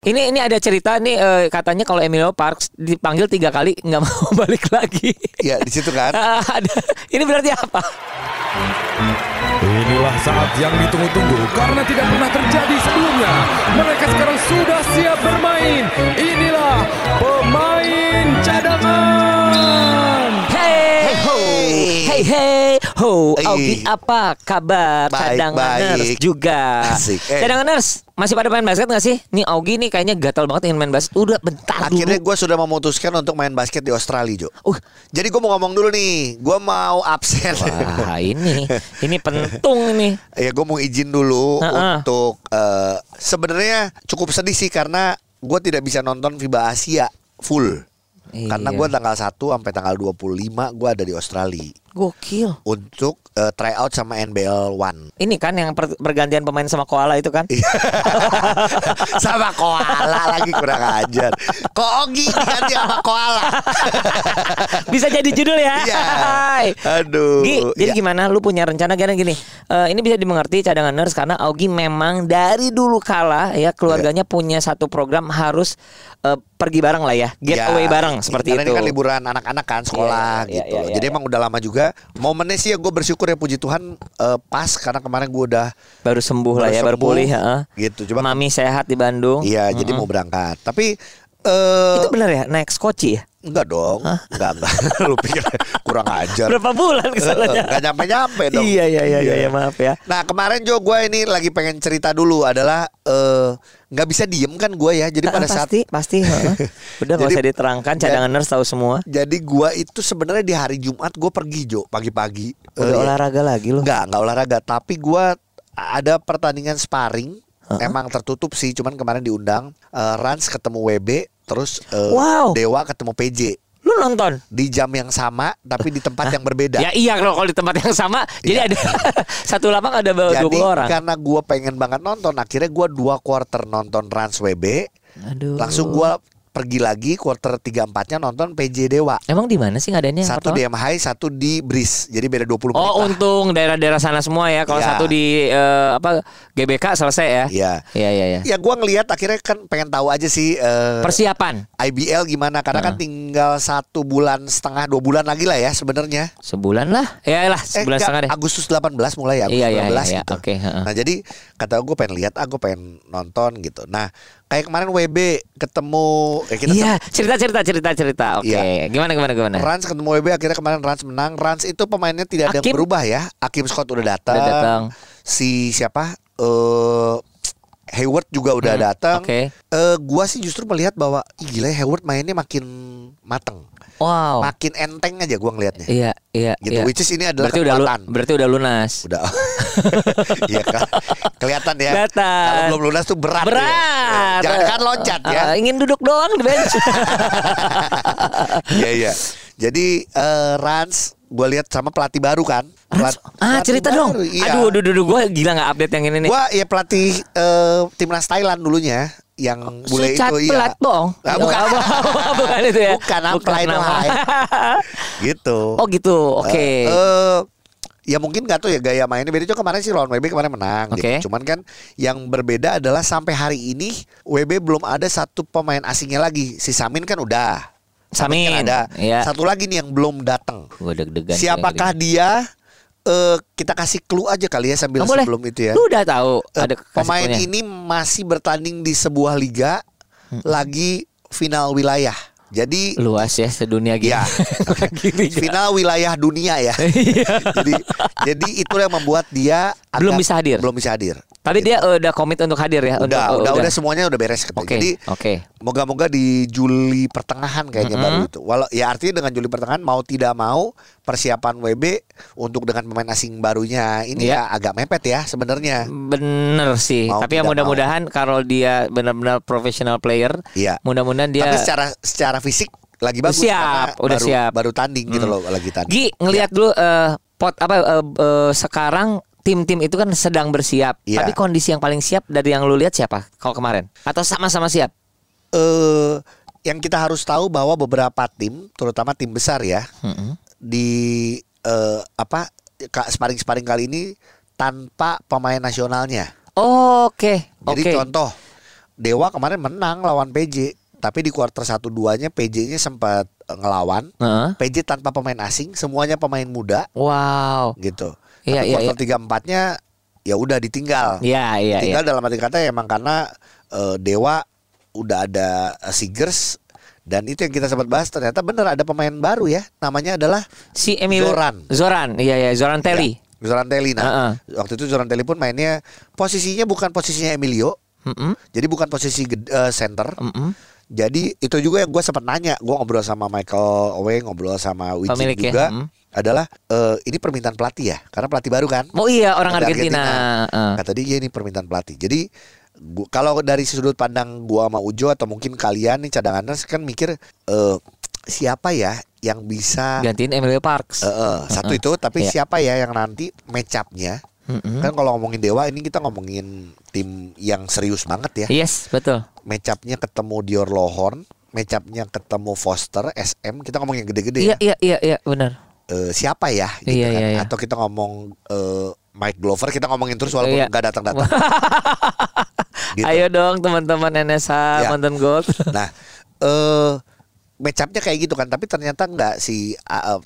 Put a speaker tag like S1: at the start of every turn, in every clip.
S1: Ini ini ada cerita nih eh, katanya kalau Emilio Parks dipanggil tiga kali nggak mau balik lagi.
S2: Ya di situ kan.
S1: Ah, ada. Ini berarti apa?
S3: Inilah saat yang ditunggu-tunggu karena tidak pernah terjadi sebelumnya. Mereka sekarang sudah siap bermain. Inilah pemain cadangan.
S1: Hey ho, hey hey ho,
S2: Hey.
S1: Augie apa kabar?
S2: Baik,
S1: Cadanganers
S2: baik.
S1: juga.
S2: Asik, eh.
S1: Cadanganers masih pada main basket nggak sih? Nih Augie nih kayaknya gatal banget ingin main basket. Udah bentar
S2: Akhirnya
S1: dulu.
S2: gue sudah memutuskan untuk main basket di Australia, Jo.
S1: Uh,
S2: Jadi gue mau ngomong dulu nih, gue mau absen.
S1: wah Uh, ini ini pentung ini.
S2: ya gue mau izin dulu
S1: Ha-ha.
S2: untuk eh, sebenarnya cukup sedih sih karena gue tidak bisa nonton FIBA Asia full.
S1: Iya.
S2: Karena gue tanggal 1 sampai tanggal 25 gue ada di Australia
S1: Gokil.
S2: untuk eh, tryout sama NBL One.
S1: Ini kan yang per- pergantian pemain sama koala itu kan?
S2: Iya. sama koala lagi kurang ajar. Kok Ogi diganti sama koala?
S1: Bisa jadi judul ya.
S2: Iya.
S1: Hai.
S2: Aduh.
S1: Gi, jadi
S2: Iya.
S1: gimana? Lu punya rencana gimana gini? Eh, ini bisa dimengerti cadangan nurse karena Augie memang dari dulu kala ya keluarganya punya satu program harus eh, pergi bareng lah ya, get
S2: Ya,
S1: away bareng seperti
S2: karena
S1: itu.
S2: ini kan liburan anak-anak kan
S1: Iya,
S2: sekolah
S1: iya,
S2: gitu
S1: iya,
S2: loh.
S1: iya,
S2: Jadi
S1: iya.
S2: emang udah lama juga. Momennya sih ya gue bersyukur ya puji Tuhan eh, pas karena kemarin gue udah
S1: baru sembuh lah
S2: Baru
S1: ya, baru
S2: sembuh,
S1: pulih, heeh.
S2: gitu. Cuma-
S1: mami sehat di Bandung.
S2: iya jadi mau berangkat. Tapi eh
S1: Oh. Itu benar ya, naik skoci ya?
S2: enggak dong. Enggak enggak. Lu pikir kurang ajar. Eh,
S1: Berapa bulan kesananya?
S2: Enggak nyampe-nyampe dong.
S1: Iya, iya, iya, iya, maaf ya.
S2: Nah kemarin Jo gue ini lagi pengen cerita dulu adalah eh, nggak bisa diem kan gue ya. Jadi
S1: Nah,
S2: pada saat
S1: pasti, pasti. heeh. Udah nggak
S2: Jadi-
S1: usah diterangkan, cadangan nurse tahu semua.
S2: jadi gue itu sebenarnya di hari Jumat gue pergi Jo pagi-pagi.
S1: Udah
S2: Eh,
S1: olahraga lagi lu.
S2: Enggak, enggak olahraga, tapi gua ada pertandingan sparring. Emang tertutup sih, cuman kemarin diundang Eh, Rans ketemu WB, terus eh,
S1: Wow.
S2: Dewa ketemu PJ
S1: Lu nonton?
S2: di jam yang sama tapi di tempat yang berbeda.
S1: Ya iya kalau kalau di tempat yang sama jadi ada satu lapang ada bawa
S2: Iya. Jadi kan
S1: 20 orang.
S2: karena gua pengen banget nonton, akhirnya gua dua quarter nonton Rans WB.
S1: Aduh.
S2: Langsung gua pergi lagi quarter 3 4-nya nonton PJ Dewa.
S1: Emang di mana sih ngadainnya? yang
S2: Satu
S1: pertama?
S2: di MHI, satu di Bris. Jadi beda 20 menit. lah.
S1: Oh, untung daerah-daerah sana semua ya. Kalau
S2: Iya.
S1: satu di eh, apa GBK selesai ya.
S2: Iya.
S1: Iya iya iya.
S2: Ya gua ngelihat akhirnya kan pengen tahu aja sih eh,
S1: Persiapan
S2: IBL gimana karena kan tinggal satu bulan setengah dua bulan lagi lah ya sebenarnya
S1: sebulan lah. Ya lah,
S2: Eh,
S1: sebulan
S2: enggak,
S1: setengah deh.
S2: Agustus 18 mulai ya Agustus
S1: Iya, iya,
S2: 18
S1: iya,
S2: gitu.
S1: oke, heeh.
S2: Nah jadi kata gue pengen lihat aku pengen nonton gitu Nah kayak kemarin WB ketemu eh, kita
S1: Iya, cerita-cerita cerita-cerita. Oke.
S2: Iya.
S1: Gimana gimana gimana?
S2: Rans ketemu WB akhirnya kemarin Rans menang Rans itu pemainnya tidak ada yang
S1: Akim.
S2: berubah ya Akim Scott udah datang,
S1: Udah datang.
S2: Si siapa eh Hayward juga udah datang
S1: Hmm, oke.
S2: Eh, Gua sih justru melihat bahwa Ih, gila ya, Hayward mainnya makin mateng
S1: Wow.
S2: makin enteng aja gua ngelihatnya.
S1: Oh. Iya iya
S2: Gitu.
S1: iya.
S2: Which is ini adalah
S1: berarti udah lu-
S2: kekuatan.
S1: berarti udah lunas.
S2: Udah. Iya kan. Kelihatan ya.
S1: Kelihatan.
S2: Kalau belum lunas tuh berat. ya.
S1: Berat.
S2: Jangan kan loncat ya.
S1: Eh, ingin duduk doang di bench.
S2: Iya iya. Jadi eh, Rans gue lihat sama pelatih baru kan.
S1: Rans-
S2: Pelat-
S1: ah
S2: pelatih
S1: cerita dong.
S2: baru, Iya.
S1: Aduh, aduh, aduh, gue gila nggak update yang ini nih.
S2: Gua ya pelatih eh, timnas Thailand dulunya yang bule
S1: Sucat
S2: itu iya.
S1: pelat bohong.
S2: Ah, bukan.
S1: bukan itu ya.
S2: Bukan, I'm Plain
S1: nama.
S2: Lai. gitu.
S1: oh gitu. Oke.
S2: Eh, eh, ya mungkin nggak tuh ya gaya mainnya beda. Cuma kemarin sih lawan WB kemarin menang.
S1: Oke.
S2: Gitu. Cuman kan yang berbeda adalah sampai hari ini WB belum ada satu pemain asingnya lagi. Si Samin kan udah.
S1: Samin.
S2: Kan ada.
S1: Iya.
S2: Satu lagi nih yang belum datang.
S1: Gue deg-degan.
S2: Siapakah dia? Eh kita kasih clue aja kali ya
S1: Oh,
S2: sambil
S1: boleh.
S2: sebelum itu ya.
S1: Lu udah tahu
S2: Eh,
S1: ada kasih
S2: pemain
S1: punya.
S2: ini masih bertanding di sebuah liga
S1: Hmm.
S2: lagi final wilayah. Jadi
S1: luas ya sedunia gitu.
S2: Iya. final wilayah dunia ya. jadi jadi itu yang membuat dia
S1: Iya. Belum bisa hadir.
S2: Belum bisa hadir.
S1: Tapi dia eh, udah komit untuk hadir ya.
S2: Udah,
S1: untuk,
S2: udah,
S1: oh,
S2: udah, semuanya udah beres gitu.
S1: Oke.
S2: Jadi
S1: Oke.
S2: moga-moga di Juli pertengahan kayaknya baru itu. Walau ya artinya dengan Juli pertengahan mau tidak mau persiapan WB untuk dengan pemain asing barunya ini
S1: Iya.
S2: ya agak mepet ya sebenarnya.
S1: Bener sih.
S2: Mau
S1: Tapi ya
S2: tidak
S1: mudah-mudahan kalau dia benar-benar profesional player,
S2: Iya.
S1: mudah-mudahan dia
S2: Tapi secara secara fisik lagi bagus
S1: Siap,
S2: karena
S1: udah
S2: baru,
S1: siap. Mm.
S2: baru tanding gitu loh lagi tanding.
S1: Gi
S2: Iya.
S1: ngelihat dulu eh, pot apa eh, eh, sekarang tim-tim itu kan sedang bersiap.
S2: Iya.
S1: Tapi kondisi yang paling siap dari yang lu lihat siapa? Kalau kemarin atau sama-sama siap?
S2: eh yang kita harus tahu bahwa beberapa tim, terutama tim besar ya, di eh, apa ka- sparring-sparring kali ini tanpa pemain nasionalnya.
S1: Oke,
S2: Jadi
S1: oke.
S2: contoh Dewa kemarin menang lawan PJ, tapi di kuarter 1 2-nya PJ-nya sempat eh, ngelawan.
S1: Heeh.
S2: PJ tanpa pemain asing, semuanya pemain muda
S1: Wow.
S2: gitu.
S1: Iya,
S2: Tapi
S1: iya,
S2: kuarter 3 4-nya ya udah ditinggal.
S1: Iya, iya, iya.
S2: Tinggal dalam arti kata ya emang karena eh, Dewa udah ada eh, Sigers dan itu yang kita sempat bahas ternyata bener ada pemain baru ya namanya adalah
S1: Si Emil
S2: Zoran.
S1: Zoran, iya iya Zoran Telly.
S2: ya, Zoran Telly. Nah,
S1: Heeh.
S2: waktu itu Zoran Telly pun mainnya posisinya bukan posisinya Emilio,
S1: Mm-mm.
S2: jadi bukan posisi ged- eh, center.
S1: Mm-mm.
S2: Jadi itu juga yang gue sempat nanya, gue ngobrol sama Michael Owe, ngobrol sama Wijin
S1: Pemiliknya,
S2: juga
S1: mm.
S2: adalah eh, ini permintaan pelatih ya, karena pelatih baru kan.
S1: Oh iya orang
S2: Dari
S1: Argentina. Heeh.
S2: Kata dia "Iya, ini permintaan pelatih. Jadi gua, kalau dari sudut pandang gua sama Ujo atau mungkin kalian nih cadangannya kan mikir eh, siapa ya yang bisa
S1: Gantiin Emilio Parks.
S2: Eh, eh, satu itu tapi
S1: Iya.
S2: siapa ya yang nanti match up-nya?
S1: Mm-mm.
S2: Kan kalau ngomongin Dewa ini kita ngomongin tim yang serius banget ya.
S1: Yes, betul.
S2: Match up-nya ketemu Dior Lohorn, match up-nya ketemu Foster SM, kita ngomong yang gede-gede
S1: Iya,
S2: ya.
S1: iya, iya, iya, benar.
S2: Eh, siapa ya gitu
S1: Iya,
S2: kan.
S1: iya, iya.
S2: atau kita ngomong eh, Mike Glover kita ngomongin terus walaupun
S1: Iya.
S2: nggak datang-datang. Gitu.
S1: Ayo dong teman-teman NSH
S2: Ya.
S1: Mountain Gold.
S2: Nah, eh match up-nya kayak gitu kan, tapi ternyata nggak si ah, eh,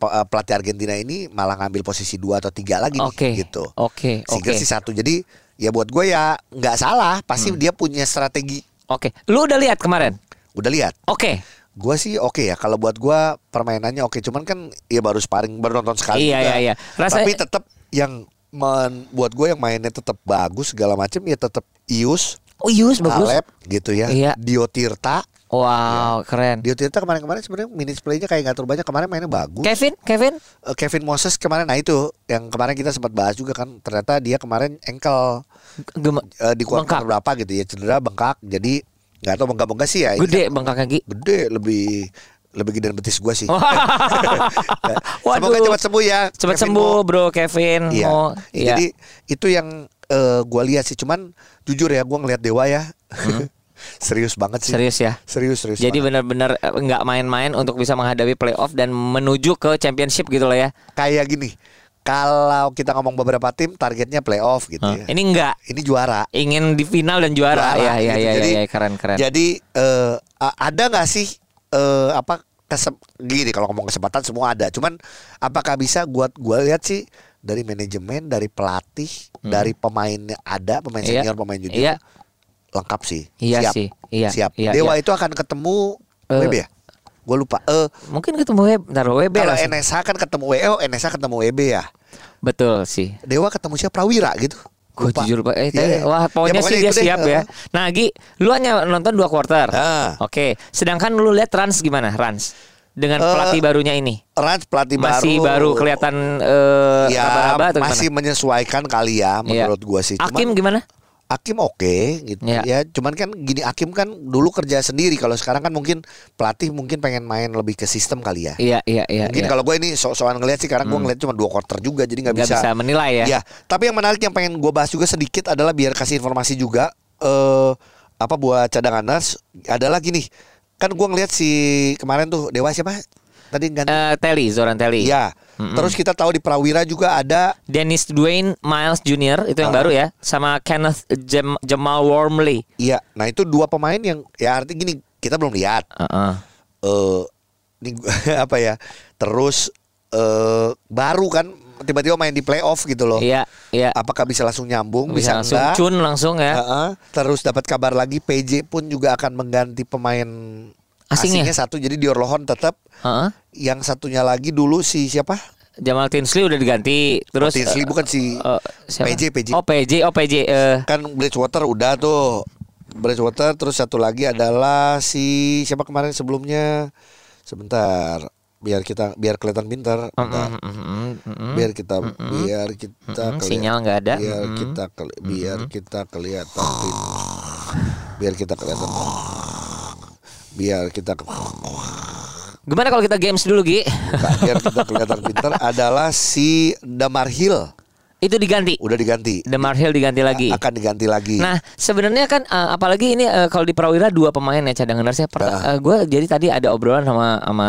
S2: pe- eh, pelatih Argentina ini malah ngambil posisi dua atau tiga lagi nih,
S1: Oke.
S2: gitu.
S1: Oke,
S2: Sehingga
S1: oke. Hmm.
S2: si satu. Jadi ya buat gue ya nggak salah, pasti dia punya strategi.
S1: Oke, lu udah lihat kemarin?
S2: Udah lihat.
S1: Oke.
S2: Gue sih oke ya kalau buat gue permainannya oke, cuman kan ya baru sparring baru nonton sekali.
S1: Iya,
S2: Kan juga.
S1: iya, iya. Rasa-
S2: Tapi tetap yang men- buat gue yang mainnya tetap bagus segala macam ya tetap Ius,
S1: Oh, Yus bagus.
S2: Alep Iya. gitu ya.
S1: Iya.
S2: Dio Tirta
S1: Wow, keren.
S2: Dio Tirta kemarin-kemarin sebenarnya minutes play-nya kayak ngatur banyak kemarin mainnya bagus.
S1: Kevin, Kevin.
S2: Eh, Kevin Moses kemarin nah itu yang kemarin kita sempat bahas juga kan ternyata dia kemarin ankle
S1: Gem
S2: eh, di kuarter
S1: Bengkak.
S2: berapa gitu ya cedera bengkak jadi nggak tahu bengkak bengkak sih ya ini
S1: gede
S2: kan
S1: bengkak kaki.
S2: gede lebih lebih gede dari betis gua sih.
S1: Oh.
S2: Semoga
S1: Waduh.
S2: cepat sembuh ya.
S1: Cepat
S2: Kevin
S1: sembuh,
S2: Mo.
S1: Bro Kevin.
S2: Iya.
S1: Oh,
S2: Ya, Jadi itu yang eh, gua lihat sih cuman jujur ya gua ngelihat Dewa ya. serius banget sih.
S1: Hmm. serius ya.
S2: Serius serius.
S1: Jadi benar-benar eh, nggak main-main untuk bisa menghadapi playoff dan menuju ke championship gitu loh ya.
S2: kayak gini kalau kita ngomong beberapa tim targetnya playoff gitu ya.
S1: Ini enggak
S2: ini juara
S1: ingin di final dan juara. ya, ya,
S2: gitu.
S1: ya,
S2: jadi
S1: ya, ya, keren, keren.
S2: jadi eh, a- ada nggak sih eh, apa kesem gini kalau ngomong kesempatan semua ada cuman apakah bisa buat gua lihat sih dari manajemen dari pelatih dari pemainnya ada pemain
S1: Hmm. Iya.
S2: senior pemain junior
S1: Iya.
S2: lengkap sih
S1: Iya
S2: siap
S1: sih, iya,
S2: siap
S1: iya,
S2: dewa
S1: iya.
S2: itu akan ketemu
S1: Eh,
S2: WB ya gue lupa eh
S1: Mungkin ketemu WB, ntar WB
S2: kalau
S1: langsung.
S2: NSH kan ketemu WO NSH ketemu WB ya
S1: Betul sih.
S2: Dewa ketemu siapa Prawira gitu.
S1: Gue
S2: Lupa.
S1: jujur Pak, eh,
S2: Iya,
S1: tapi-
S2: iya.
S1: wah pokoknya,
S2: Ya,
S1: sih dia
S2: itu deh.
S1: siap ya. Nah, Gi, lu hanya nonton dua quarter.
S2: Ah.
S1: Oke, sedangkan lu lihat Rans gimana? Rans dengan
S2: Eh,
S1: pelatih barunya ini.
S2: Rans pelatih
S1: Masih baru, kelihatan eh,
S2: ya
S1: raba-raba atau gimana?
S2: masih menyesuaikan kali ya
S1: Iya.
S2: menurut gua sih. Cuman,
S1: Hakim gimana?
S2: Hakim oke gitu
S1: Iya.
S2: ya. Cuman kan gini Hakim kan dulu kerja sendiri kalau sekarang kan mungkin pelatih mungkin pengen main lebih ke sistem kali ya.
S1: Iya, iya, iya. iya.
S2: Mungkin
S1: Hmm.
S2: kalau gue ini so-soan ngelihat sih karena gue ngelihat cuma dua quarter juga jadi nggak
S1: Nggak
S2: bisa.
S1: bisa menilai ya.
S2: Iya, tapi yang menarik yang pengen gue bahas juga sedikit adalah biar kasih informasi juga eh apa buat cadangan nas adalah gini. Kan gue ngelihat si kemarin tuh Dewa siapa? Tadi ganti.
S1: Eh, Telly, Zoran Telly.
S2: Iya. Terus kita tahu di Prawira juga ada
S1: Dennis Dwayne Miles Jr. itu yang
S2: Ah.
S1: baru ya, sama Kenneth Jem- Jamal Wormley.
S2: iya. Nah, itu dua pemain yang ya arti gini, kita belum lihat
S1: Heeh.
S2: eh ini gua- apa ya? Terus eh baru kan tiba-tiba main di playoff gitu loh.
S1: Iya, iya.
S2: Apakah bisa langsung nyambung?
S1: Bisa
S2: Bisa,
S1: langsung
S2: enggak?
S1: cun langsung ya.
S2: Heeh. Terus dapat kabar lagi PJ pun juga akan mengganti pemain
S1: Asingnya?
S2: asingnya, satu jadi Dior Lohon tetap.
S1: Heeh.
S2: Yang satunya lagi dulu si siapa?
S1: Jamal Tinsley udah diganti, terus eh,
S2: Tinsley bukan si
S1: eh, siapa?
S2: PJ PJ.
S1: Oh PJ, oh PJ. eh,
S2: kan Bridgewater udah tuh Bridgewater terus satu lagi adalah si siapa kemarin sebelumnya sebentar biar kita biar kelihatan pintar bentar.
S1: mm, mm, mm, mm, mm.
S2: biar kita biar kita
S1: Mm,
S2: keli-
S1: sinyal nggak ada.
S2: biar
S1: Mm.
S2: kita keli- biar kita kelihatan pintar biar kita kelihatan biar kita
S1: Gimana kalau kita games dulu Gi?
S2: biar kita kelihatan pintar adalah si Damar Hill
S1: Itu diganti.
S2: udah diganti
S1: Demar Hill diganti lagi.
S2: akan diganti lagi
S1: Nah, sebenarnya kan eh, apalagi ini eh, kalau di Prawira dua pemain ya cadanganers ya.
S2: Ah.
S1: Perta- eh, gua jadi tadi ada obrolan sama sama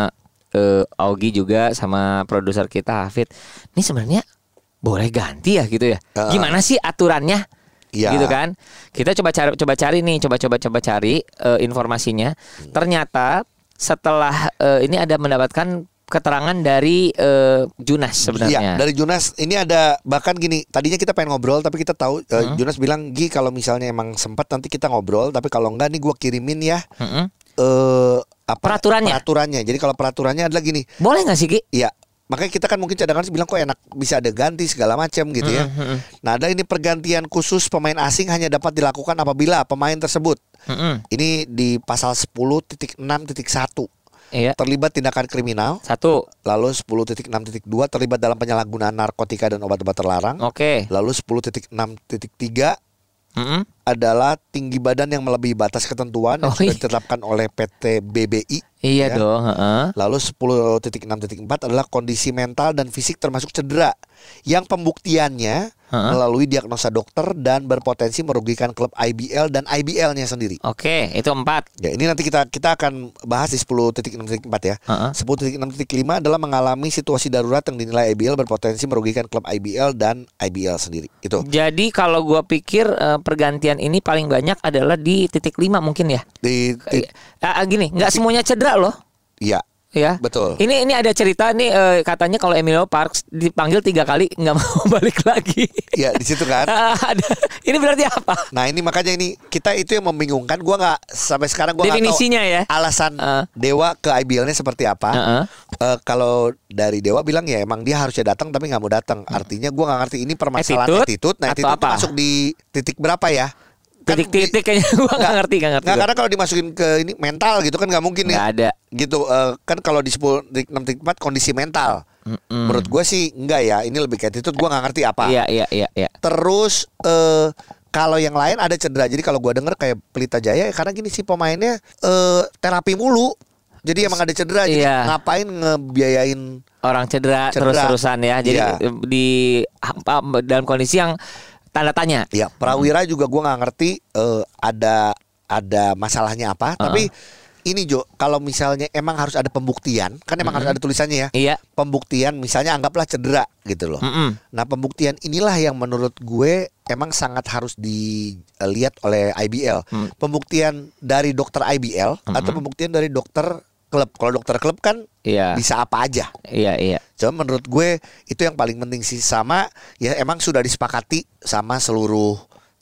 S1: eh, Augie juga sama produser kita Hafid. Ini sebenarnya boleh ganti ya gitu ya. Gimana sih aturannya?
S2: Ah. Iya.
S1: gitu kan kita coba cari coba cari nih coba coba coba cari eh, informasinya
S2: Hmm.
S1: ternyata setelah eh, ini ada mendapatkan keterangan dari eh, Junas
S2: Iya,
S1: sebenarnya
S2: dari Junas ini ada bahkan gini, tadinya kita pengen ngobrol tapi kita tahu eh,
S1: Hmm.
S2: Junas bilang, "Gi, kalau misalnya emang sempat nanti kita ngobrol, tapi kalau enggak nih gua kirimin ya."
S1: Mm-mm.
S2: eh apa
S1: Peraturannya.
S2: Peraturannya. Jadi kalau peraturannya adalah gini,
S1: boleh nggak sih Ki
S2: Iya, makanya kita kan mungkin cadangan sih bilang kok enak bisa ada ganti segala macam gitu
S1: Hmm,
S2: ya. Nah, ada ini pergantian khusus pemain asing hanya dapat dilakukan apabila pemain tersebut
S1: Mm-mm.
S2: ini di pasal 10.6.1
S1: iya
S2: terlibat tindakan kriminal,
S1: satu
S2: lalu 10.6.2 terlibat dalam penyalahgunaan narkotika dan obat-obat terlarang,
S1: oke
S2: lalu 10.6.3
S1: Mm-mm.
S2: adalah tinggi badan yang melebihi batas ketentuan yang
S1: Oh, iya.
S2: sudah ditetapkan oleh PT BBI.
S1: iya
S2: Ya.
S1: dong heeh.
S2: Lalu 10.6.4 adalah kondisi mental dan fisik termasuk cedera yang pembuktiannya
S1: Heeh.
S2: melalui diagnosa dokter dan berpotensi merugikan klub IBL dan IBL-nya sendiri.
S1: oke itu empat
S2: Ya, ini nanti kita kita akan bahas di 10.6.4 ya.
S1: Heeh.
S2: 10.6.5 adalah mengalami situasi darurat yang dinilai IBL berpotensi merugikan klub IBL dan IBL sendiri. Itu
S1: Jadi kalau gua pikir eh, pergantian ini paling banyak adalah di titik lima mungkin ya.
S2: di, di
S1: Ah, ah, gini, nggak semuanya cedera loh,
S2: ya.
S1: ya.
S2: Betul.
S1: Ini ini ada cerita nih eh, katanya kalau Emilio Parks dipanggil tiga kali nggak mau balik lagi.
S2: Ya, di situ kan.
S1: Ah, ada. Ini berarti apa?
S2: Nah ini makanya ini kita itu yang membingungkan. Gua nggak sampai sekarang gua nggak tahu Ah,
S1: Definisinya ya.
S2: alasan
S1: Heeh.
S2: Dewa ke IBL-nya seperti apa.
S1: Heeh.
S2: Eh, kalau dari Dewa bilang ya emang dia harusnya datang tapi nggak mau datang. Artinya gua nggak ngerti ini permasalahan
S1: Hmm. Attitude
S2: attitude. Nah
S1: atau
S2: attitude tuh
S1: apa?
S2: masuk di titik berapa ya? Kan
S1: Titik-titik
S2: di-
S1: kayaknya gua nggak ngerti nggak ngerti.
S2: nggak, kan
S1: gua.
S2: karena kalau dimasukin ke ini mental gitu kan nggak mungkin
S1: Nggak
S2: ya.
S1: ada.
S2: Gitu eh, kan kalau di 10 6 4 kondisi mental. Menurut gua sih enggak ya. Ini lebih ke attitude gua nggak ngerti apa.
S1: Iya iya iya iya.
S2: Terus eh kalau yang lain ada cedera. Jadi kalau gua denger kayak Pelita Jaya ya karena gini sih pemainnya eh terapi mulu. Jadi emang ada cedera. Jadi
S1: Iya.
S2: ngapain ngebiayain
S1: Orang cedera,
S2: Cedera.
S1: terus-terusan ya. Jadi
S2: Iya.
S1: eh, di apa, dalam kondisi yang tanda tanya.
S2: ya Prawira
S1: Mm.
S2: juga gua nggak ngerti eh ada ada masalahnya apa. Tapi ini Jo, kalau misalnya emang harus ada pembuktian, kan emang harus ada tulisannya ya.
S1: Iya.
S2: Pembuktian misalnya anggaplah cedera gitu loh.
S1: Mm-mm.
S2: Nah, pembuktian inilah yang menurut gue emang sangat harus dilihat oleh IBL.
S1: Hmm.
S2: Pembuktian dari dokter IBL atau pembuktian dari dokter klub. Kalau dokter klub kan
S1: Iya.
S2: bisa apa aja.
S1: Iya iya.
S2: Cuma menurut gue itu yang paling penting sih sama ya emang sudah disepakati sama seluruh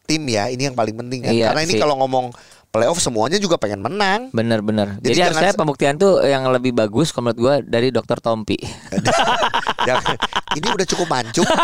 S2: tim ya. Ini yang paling penting kan.
S1: Iya
S2: Karena ini
S1: sih.
S2: kalau ngomong playoff semuanya juga pengen menang.
S1: Bener-bener. Jadi,
S2: Jadi jangan
S1: harusnya
S2: se-
S1: pembuktian tuh yang lebih bagus kalau menurut gua dari dokter Tompi.
S2: Jangan- Ya kan? ini udah cukup mancung.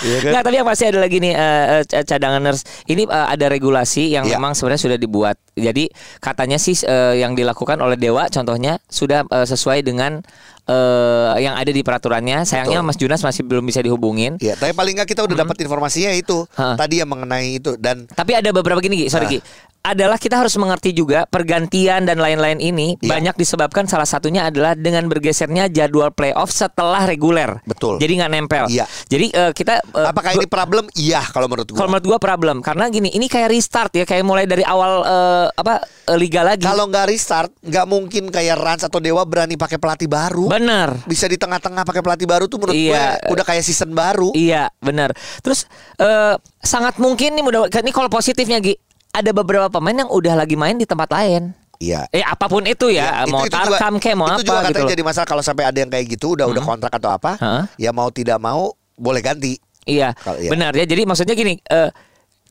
S2: Iya kan?
S1: Nggak, tapi yang pasti ada lagi nih eh, eh, ca- cadangan nurse. Ini eh, ada regulasi yang
S2: Iya.
S1: memang sebenarnya sudah dibuat. Jadi katanya sih eh, yang dilakukan oleh dewa contohnya sudah eh, sesuai dengan eh, yang ada di peraturannya. Sayangnya
S2: Betul.
S1: Mas Junas masih belum bisa dihubungin.
S2: Ya, tapi paling nggak kita udah dapat informasinya itu
S1: Ha.
S2: tadi yang mengenai itu dan
S1: Tapi ada beberapa gini, Gi. sorry
S2: Ah.
S1: Ki. Adalah kita harus mengerti juga pergantian dan lain-lain ini
S2: Iya.
S1: banyak disebabkan salah satunya adalah dengan bergesernya jadwal playoff setelah reguler.
S2: Betul.
S1: Jadi nggak nempel.
S2: Iya.
S1: Jadi eh, kita eh,
S2: apakah ini problem? Iya kalau menurut gua.
S1: kalau menurut gua problem karena gini, ini kayak restart ya, kayak mulai dari awal eh, apa eh, liga lagi.
S2: Kalau nggak restart, nggak mungkin kayak Rans atau Dewa berani pakai pelatih baru.
S1: bener.
S2: Bisa di tengah-tengah pakai pelatih baru tuh menurut
S1: Iya.
S2: gue udah kayak season baru.
S1: Iya, benar. Terus eh, sangat mungkin nih mudah ini kalau positifnya Gi, ada beberapa pemain yang udah lagi main di tempat lain.
S2: Iya.
S1: Eh apapun itu ya,
S2: Itu-
S1: mau
S2: itu juga-
S1: tarkam kayak mau
S2: itu
S1: apa
S2: juga
S1: gitu.
S2: katanya
S1: loh.
S2: jadi masalah kalau sampai ada yang kayak gitu udah udah kontrak atau apa,
S1: Heeh.
S2: ya mau tidak mau boleh ganti.
S1: Iya,
S2: Kalau- iya.
S1: benar ya. Jadi maksudnya gini, eh,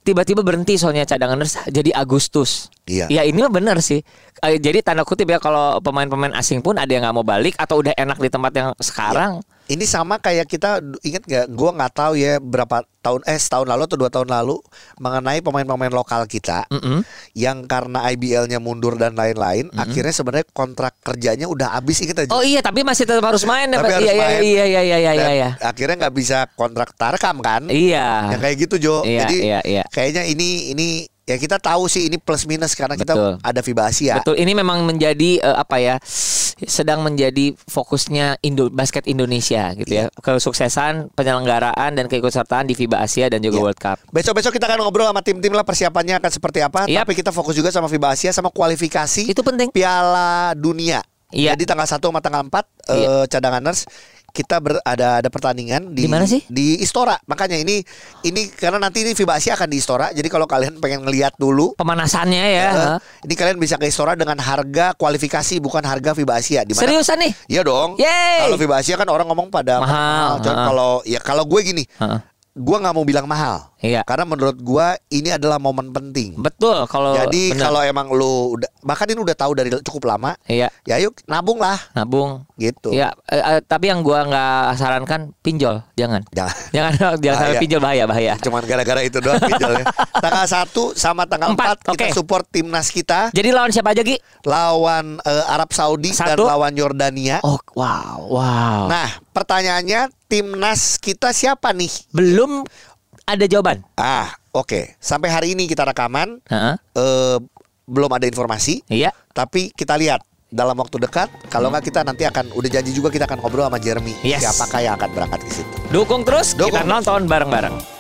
S1: tiba-tiba berhenti soalnya cadangan nurse jadi Agustus.
S2: Iya.
S1: Ya ini mah benar sih. Eh, jadi tanda kutip ya kalau pemain-pemain asing pun ada yang nggak mau balik atau udah enak di tempat yang sekarang.
S2: Ini sama kayak kita inget nggak? Gua nggak tahu ya berapa tahun eh setahun lalu atau dua tahun lalu mengenai pemain-pemain lokal kita
S1: Mm-mm.
S2: yang karena IBL-nya mundur dan lain-lain, akhirnya sebenarnya kontrak kerjanya udah habis inget aja.
S1: Oh iya, tapi masih tetap harus main. ya,
S2: Tapi
S1: Pak.
S2: harus
S1: iya,
S2: main.
S1: iya, iya, iya, iya,
S2: Dan
S1: iya, iya.
S2: akhirnya nggak bisa kontrak tarkam kan
S1: Iya.
S2: yang kayak gitu Jo
S1: Iya,
S2: jadi
S1: iya, iya.
S2: kayaknya ini ini ya kita tahu sih ini plus minus karena
S1: Betul.
S2: kita ada ya. FIBA Asia
S1: Betul, ini memang menjadi eh, apa ya? Sedang menjadi fokusnya Indo basket Indonesia gitu ya.
S2: Iya.
S1: Kesuksesan penyelenggaraan dan keikutsertaan di FIBA Asia dan juga
S2: Iya.
S1: World Cup.
S2: Besok-besok kita akan ngobrol sama tim-tim lah persiapannya akan seperti apa
S1: Yap.
S2: Tapi kita fokus juga sama FIBA Asia sama kualifikasi
S1: Itu penting.
S2: Piala Dunia
S1: Iya.
S2: Jadi tanggal 1 sama tanggal 4
S1: Iya.
S2: eh, cadanganers kita ber, ada ada pertandingan di
S1: Di mana sih?
S2: Di Istora. Makanya ini ini karena nanti ini FIBA Asia akan di Istora. Jadi kalau kalian pengen ngelihat dulu
S1: Pemanasannya ya.
S2: eh, ini kalian bisa ke Istora dengan harga kualifikasi bukan harga FIBA Asia di mana
S1: Seriusan nih?
S2: Iya dong.
S1: Yeay.
S2: Kalau FIBA Asia kan orang ngomong pada
S1: Mahal.
S2: Cuman
S1: Heeh.
S2: kalau ya kalau gue gini,
S1: Heeh.
S2: gue nggak mau bilang mahal.
S1: Iya.
S2: Karena menurut gue ini adalah momen penting.
S1: Betul kalau
S2: Jadi
S1: bener.
S2: kalau emang lu udah, bahkan ini udah tahu dari cukup lama,
S1: iya
S2: ya yuk nabung lah
S1: nabung.
S2: gitu.
S1: Iya, eh, eh, tapi yang gua nggak sarankan pinjol, jangan.
S2: Jangan.
S1: Jangan jangan sampai
S2: Bahaya.
S1: pinjol bahaya bahaya.
S2: Cuman gara-gara itu doang pinjolnya. tanggal 1 sama tanggal 4,
S1: Empat,
S2: kita
S1: oke.
S2: support timnas kita
S1: Jadi lawan siapa aja Ki?
S2: lawan eh, Arab Saudi dan
S1: Satu.
S2: lawan Yordania.
S1: Oh wow wow.
S2: Nah, pertanyaannya timnas kita siapa nih?
S1: Belum ada jawaban.
S2: Ah, oke. Sampai hari ini kita rekaman
S1: Heeh.
S2: eh, belum ada informasi,
S1: Iya.
S2: tapi kita lihat dalam waktu dekat. Kalau nggak kita nanti akan udah janji juga kita akan ngobrol sama Jeremy
S1: Yes.
S2: siapakah yang akan berangkat ke situ.
S1: Dukung terus
S2: Dukung.
S1: kita nonton bareng-bareng.